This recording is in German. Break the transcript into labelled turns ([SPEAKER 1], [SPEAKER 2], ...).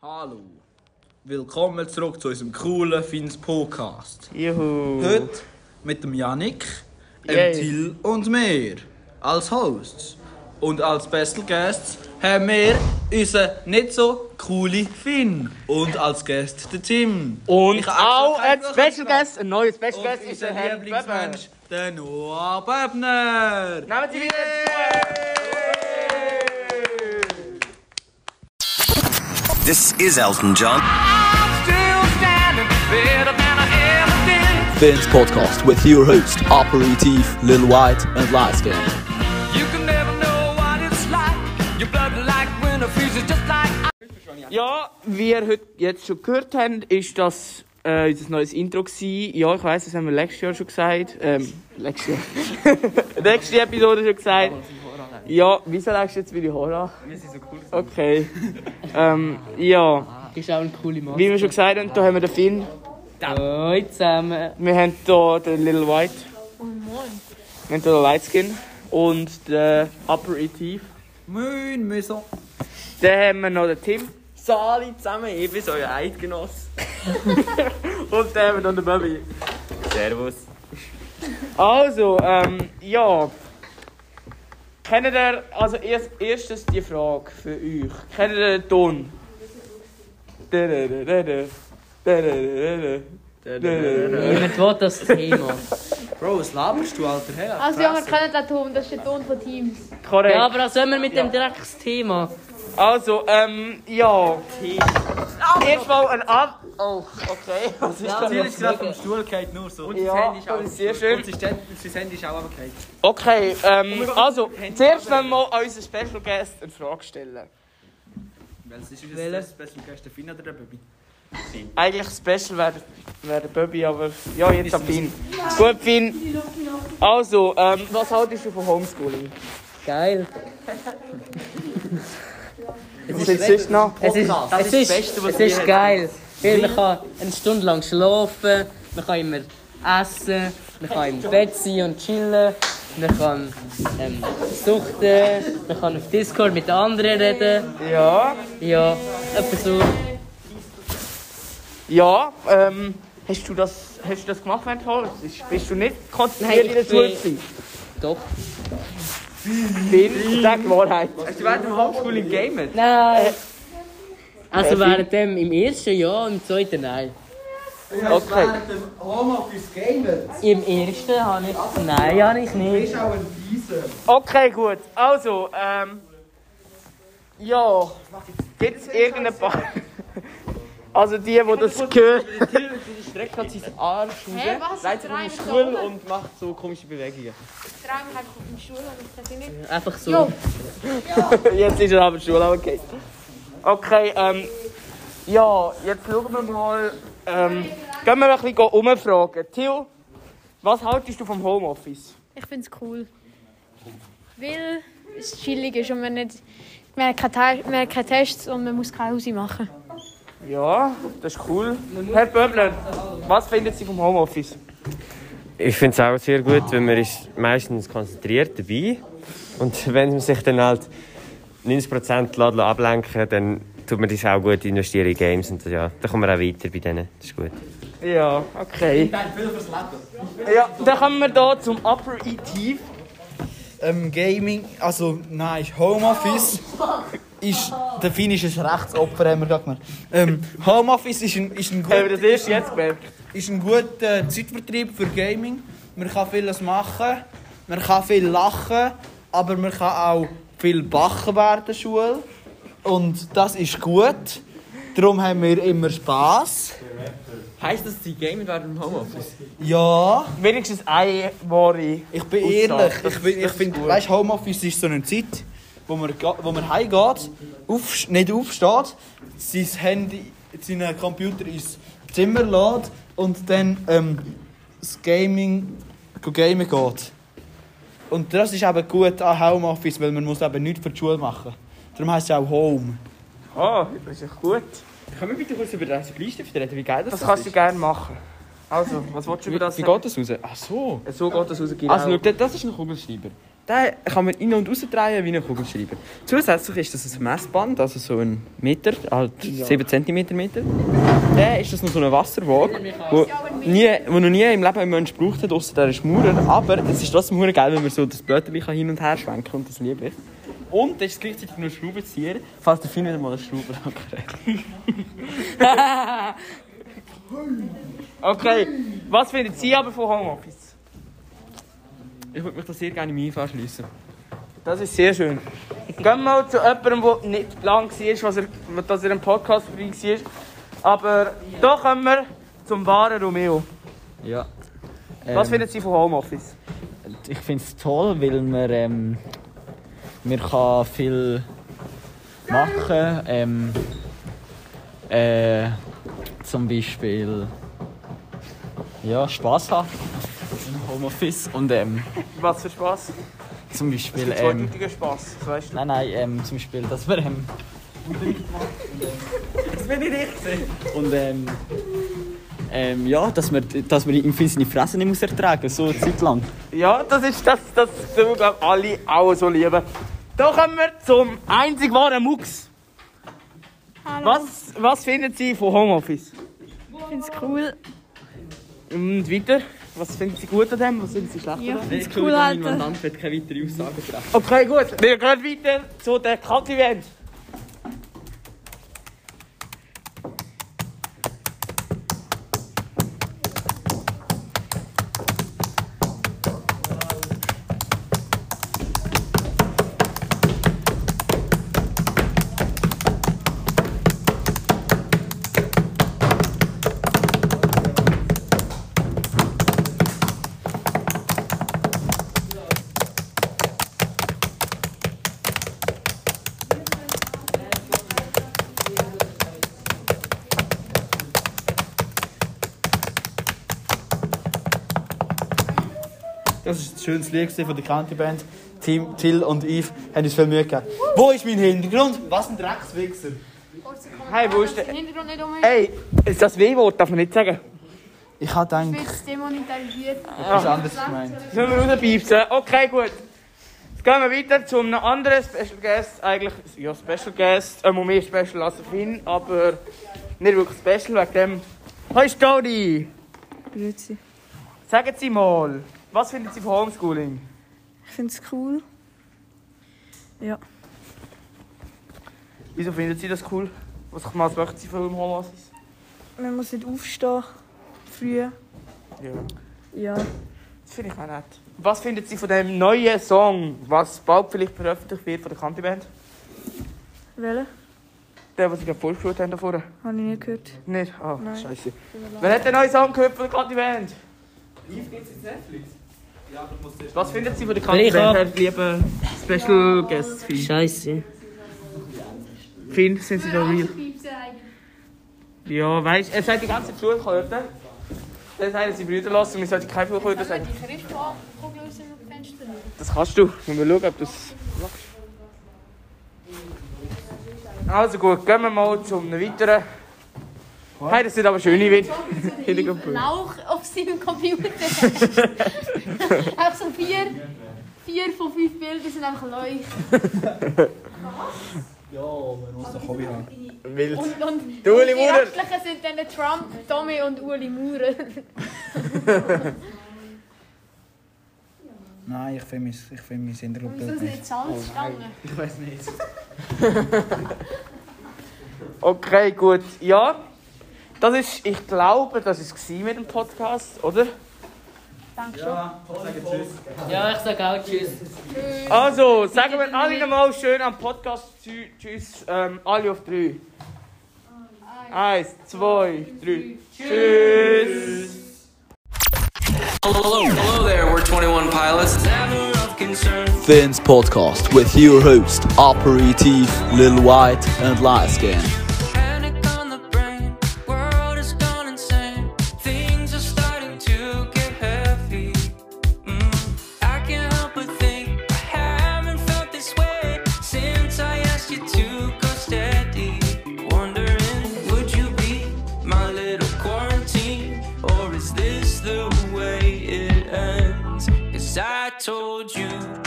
[SPEAKER 1] Hallo. Willkommen zurück zu unserem coolen Fins Podcast.
[SPEAKER 2] Juhu.
[SPEAKER 1] Heute mit dem Yannick, dem
[SPEAKER 2] Yay.
[SPEAKER 1] Till und mir als Hosts. Und als Special Guests haben wir unseren nicht so coole Finn. Und als Guest den Tim.
[SPEAKER 2] Und
[SPEAKER 1] Ich habe extra
[SPEAKER 2] auch ein
[SPEAKER 1] keinen
[SPEAKER 2] Special
[SPEAKER 1] Namen.
[SPEAKER 2] Guest, ein neuer Special
[SPEAKER 1] Und
[SPEAKER 2] Guest ist der
[SPEAKER 1] unser
[SPEAKER 2] Herr Lieblingsmensch.
[SPEAKER 1] Lieblingsmensch, der Noah Böbner.
[SPEAKER 2] Nehmen Sie wieder
[SPEAKER 3] This is Elton John.
[SPEAKER 4] Finn's podcast with your host, Operative Lil White and Lightskin.
[SPEAKER 2] Ja, wie ihr heute jetzt schon gehört habt, ist das äh, unser neues Intro gewesen. Ja, ich weiss, das haben wir letztes Jahr schon gesagt. Ähm, letztes Jahr. Nächste Episode schon gesagt. Ja, wieso lässt du jetzt wieder Horror? Wir sind so cool. Okay. ähm, ja,
[SPEAKER 5] Ist auch eine coole Maske.
[SPEAKER 2] wie wir schon gesagt haben, da haben wir den Finn.
[SPEAKER 5] Hallo zusammen.
[SPEAKER 2] Wir haben hier den Little White. Wir haben hier den Lightskin. Und den Upper E.T.
[SPEAKER 1] Moin, Müsso.
[SPEAKER 2] Dann haben wir noch den Tim.
[SPEAKER 5] Sali zusammen, ich bin euer Eidgenoss.
[SPEAKER 2] Und der mit der Baby. Servus. Also, ähm, ja. Kennt ihr, also erst, erstens die Frage für euch. Kennt ihr den Ton? Dadadadada. Dadadadada. Dadadadada.
[SPEAKER 5] Niemand will das Thema.
[SPEAKER 1] Bro, was laberst du, alter Herr?
[SPEAKER 6] Also ja, wir kennen den Ton, das ist der Ton von Teams.
[SPEAKER 2] Korrekt.
[SPEAKER 5] Ja, aber als wenn wir mit dem direkt das Thema.
[SPEAKER 2] Also, ähm, ja. Erstmal ein Ab. Oh, okay. Was ist das?
[SPEAKER 1] Ziel ist gerade vom Stuhl gefallen, nur so. Und
[SPEAKER 2] Also Ja, das ist sehr schön.
[SPEAKER 1] sein Handy ist auch runtergefallen.
[SPEAKER 2] Okay, ähm, also, zuerst wollen wir mal unseren Special Guest eine Frage stellen.
[SPEAKER 1] Welches ist unser Special Guest? Der Finn oder der Baby?
[SPEAKER 2] Eigentlich Special wäre wär der Bobby, aber ja, jetzt am Finn. Gut, Finn. Also, ähm, was haltest du von Homeschooling?
[SPEAKER 5] Geil.
[SPEAKER 2] Was ist sonst noch?
[SPEAKER 5] Es ist, es ist, es ist geil. Weil man kann eine Stunde lang schlafen, man kann immer essen, man kann im Bett sein und chillen, man kann ähm, suchten, man kann auf Discord mit anderen reden.
[SPEAKER 2] Ja,
[SPEAKER 5] Ja, etwa so.
[SPEAKER 2] ja, ähm, hast du das, hast du das gemacht während Holz? Bist du nicht konzentriert
[SPEAKER 5] Nein,
[SPEAKER 2] in der
[SPEAKER 5] ich bin-
[SPEAKER 2] Schule gewesen?
[SPEAKER 5] Doch.
[SPEAKER 2] Finn, sag die Wahrheit. Hast du während dem Homeschooling gamet?
[SPEAKER 5] Nein. Also während dem im ersten Jahr, im zweiten nein.
[SPEAKER 2] Okay.
[SPEAKER 5] Im ersten habe ich. Nein, habe ich nicht.
[SPEAKER 2] Okay, gut. Also, ähm. Ja. Gibt es irgendeinen Ball? Also, die, die das gehört.
[SPEAKER 6] Hä, was? Leitet mich Stuhl und macht so komische Bewegungen. Drei mich einfach auf dem Stuhl und ich kann nicht.
[SPEAKER 5] Einfach so.
[SPEAKER 6] Jo.
[SPEAKER 2] Jetzt ist er aber schon, aber okay. Okay, ähm. Ja, jetzt schauen wir mal. Ähm, gehen wir ein bisschen umfragen. Theo, was haltest du vom Homeoffice?
[SPEAKER 6] Ich finde es cool. Weil es chillig ist und man nicht... Man hat keine, Te- man hat keine Tests und man muss keine Hause machen.
[SPEAKER 2] Ja, das ist cool. Herr Böbler, was findet Sie vom Homeoffice?
[SPEAKER 7] Ich finde es auch sehr gut, weil man ist meistens konzentriert dabei und wenn man sich dann halt 90% lassen ablenken dann tut man das auch gut investieren in Games und ja, dann kommen wir auch weiter bei denen, das ist gut.
[SPEAKER 2] Ja, okay. Ja, dann kommen wir hier zum Upper E.T.
[SPEAKER 8] Ähm, Gaming, also nein, Homeoffice ist der finnische Rechtsopfer, haben wir gerade gemerkt. Ähm, Homeoffice ist ein, ist, ein
[SPEAKER 2] Haben wir das
[SPEAKER 8] gut,
[SPEAKER 2] erst jetzt gemerkt?
[SPEAKER 8] ist ein guter Zeitvertrieb für eh, Gaming. Man kann vieles machen, man kann viel lachen, aber man kann auch viel bachen während der Schule. Und das ist gut. Darum haben wir immer Spass.
[SPEAKER 9] Heißt das, die Gamer werden im Homeoffice?
[SPEAKER 8] Ja,
[SPEAKER 2] Wenigstens eine wahre.
[SPEAKER 8] ich bin
[SPEAKER 2] Aussage.
[SPEAKER 8] ehrlich.
[SPEAKER 2] Das-
[SPEAKER 8] Ich, bin, ich
[SPEAKER 2] das ist
[SPEAKER 8] finde,
[SPEAKER 2] gut.
[SPEAKER 8] weißt, Homeoffice ist so eine Zeit, wo man, ga- wo man heimgeht, auf, nicht aufsteht, sein Handy, seinen Computer ins Zimmer lädt und dann ähm, das Gaming, go gamen geht. Und das ist eben gut an Homeoffice, weil man muss eben nichts für die Schule machen. Darum heisst es auch Home.
[SPEAKER 2] Ah, das ist echt gut.
[SPEAKER 9] Können wir bitte kurz über das Bleistift reden? Wie geil das,
[SPEAKER 2] Das kannst du gerne machen. Also, was willst du über das
[SPEAKER 9] Wie geht das raus? Ach so.
[SPEAKER 2] So geht das raus, genau.
[SPEAKER 9] Also, schau, das ist ein Kugelschreiber. den kann man in- und rausdrehen wie ein Kugelschreiber. Zusätzlich ist das ein Messband, also so ein Meter, halt 7 cm Meter. Dann ist das noch so eine Wasserwaage, wo, nie, wo noch nie im Leben ein Mensch gebraucht hat, außer der ist Maurer. Aber es ist trotzdem mega geil, wenn man so das Blättchen kann hin und her schwenken kann und das liebe ich. Und das ist gleichzeitig nur ein Schraubenzieher, falls der Finn wieder mal einen Schrauber angreift.
[SPEAKER 2] Okay, was findet Sie aber von Homeoffice?
[SPEAKER 9] Ich würde mich da sehr gerne im IV anschliessen.
[SPEAKER 2] Das ist sehr schön. Gehen mal zu jemandem, der nicht lang war, was er, dass er im Podcast vorbei war. Aber da kommen wir zum wahren Romeo.
[SPEAKER 10] Ja.
[SPEAKER 2] Was
[SPEAKER 10] Ähm,
[SPEAKER 2] finden Sie von Homeoffice?
[SPEAKER 10] ich finde es toll, weil man, ähm, man kann viel machen ähm, äh, zum Beispiel ja, Spass haben im Homeoffice und ähm,
[SPEAKER 2] Was für Spass?
[SPEAKER 10] zum Beispiel ähm,
[SPEAKER 2] Zweideutiger Spass, das weißt du.
[SPEAKER 10] nein, nein, ähm, zum Beispiel, dass wir ähm, und ähm, ähm, ja, dass man, dass man im Film seine Fresse nicht muss ertragen muss, so eine Zeit lang.
[SPEAKER 2] Ja, das ist das, das tun, glaub ich, alle auch so lieben. Da kommen wir zum einzig wahren Mux.
[SPEAKER 6] Hallo.
[SPEAKER 2] Was, was finden Sie von Homeoffice?
[SPEAKER 6] Ich finde es cool.
[SPEAKER 2] Und weiter? Was finden Sie gut an dem? Was finden Sie schlecht
[SPEAKER 6] Ja,
[SPEAKER 2] an
[SPEAKER 6] ich
[SPEAKER 2] dem?
[SPEAKER 6] finde es cool, Alter.
[SPEAKER 9] Mandant wird keine weitere Aussage treffen.
[SPEAKER 2] Okay, gut. Wir gehen weiter zu der Kaffee-Event.
[SPEAKER 8] Das ist das schönste Lied gewesen von der County Band. Team Till und Eve haben uns viel Mühe gegeben. Wo ist mein Hintergrund? Was ein Dreckswichser.
[SPEAKER 2] Hey, wo ist der-
[SPEAKER 6] Hintergrund nicht um
[SPEAKER 2] Hey, ist das W-Wort darf man nicht sagen.
[SPEAKER 8] Ich habe gedacht,
[SPEAKER 6] Wird demonetarisiert.
[SPEAKER 8] etwas anderes gemeint.
[SPEAKER 2] Sollen wir rauspiepsen? Okay, gut. Jetzt gehen wir weiter zu einem anderen Special Guest. Eigentlich, ja, Special Guest. Ähm, mehr Special als der Finn, aber nicht wirklich Special wegen dem. Hi, Staudi!
[SPEAKER 11] Grüezi.
[SPEAKER 2] Sagen Sie mal, was finden Sie von Homeschooling?
[SPEAKER 11] Ich finde es cool. Ja,
[SPEAKER 2] Wieso finden Sie das cool? Was, was möchten Sie von dem Homeoffice?
[SPEAKER 11] man muss nicht aufstehen. Früh.
[SPEAKER 2] Ja.
[SPEAKER 11] Ja.
[SPEAKER 2] Das finde ich auch nett. Was finden Sie von dem neuen Song, was bald vielleicht veröffentlicht wird von der Country Band?
[SPEAKER 11] Welche?
[SPEAKER 2] Der, den Sie gerade vorgespielt haben davor?
[SPEAKER 11] Habe ich nicht gehört.
[SPEAKER 2] Nicht? Ah,
[SPEAKER 11] Nein.
[SPEAKER 2] scheiße. Wer hat den neuen Song gehört von der Country Band? Was finden Sie von der Country
[SPEAKER 5] Ich
[SPEAKER 2] Band,
[SPEAKER 5] hab-
[SPEAKER 2] Herr lieber Special Guest Finn?
[SPEAKER 5] Scheiße.
[SPEAKER 2] Finn, sind Sie da real? Ja, weißt du, er sagt die ganze Zeit Fluchhörte. Dann sagen sie Brüder lassen, wir sollten keine Fluchhörte sagen.
[SPEAKER 6] Die Christen angucken aus dem Fenster.
[SPEAKER 2] Das kannst du. Müssen wir schauen, ob du es machst. Also gut, gehen wir mal zum weiteren. Hey, das sind aber schöne Witze. Hintergrundbild.
[SPEAKER 6] Lauch auf seinem Computer. einfach so vier, vier von fünf Bildern sind einfach Leuch. ja, man muss doch Hobby haben. Wild. Und, und,
[SPEAKER 2] Der Uli
[SPEAKER 6] und die
[SPEAKER 2] Maurer.
[SPEAKER 6] restlichen sind dann Trump, Tommy und Uli Maurer.
[SPEAKER 8] Nein, ich finde mein, ich finde mein
[SPEAKER 6] Wieso ist
[SPEAKER 8] Hintergrundbild
[SPEAKER 6] das
[SPEAKER 8] nicht.
[SPEAKER 6] nicht Salzstangen?
[SPEAKER 2] Okay, gut. Ja, das ist, ich glaube, das war es mit dem Podcast, oder?
[SPEAKER 5] Ja, ich sag auch Tschüss.
[SPEAKER 2] Also, sagen wir alle nochmal schön am Podcast tschü- Tschüss, ähm, alle auf drei. Eins, zwei, drei. Tschüss.
[SPEAKER 4] E Finn's podcast with your host, Operative Lil White and Light Skin.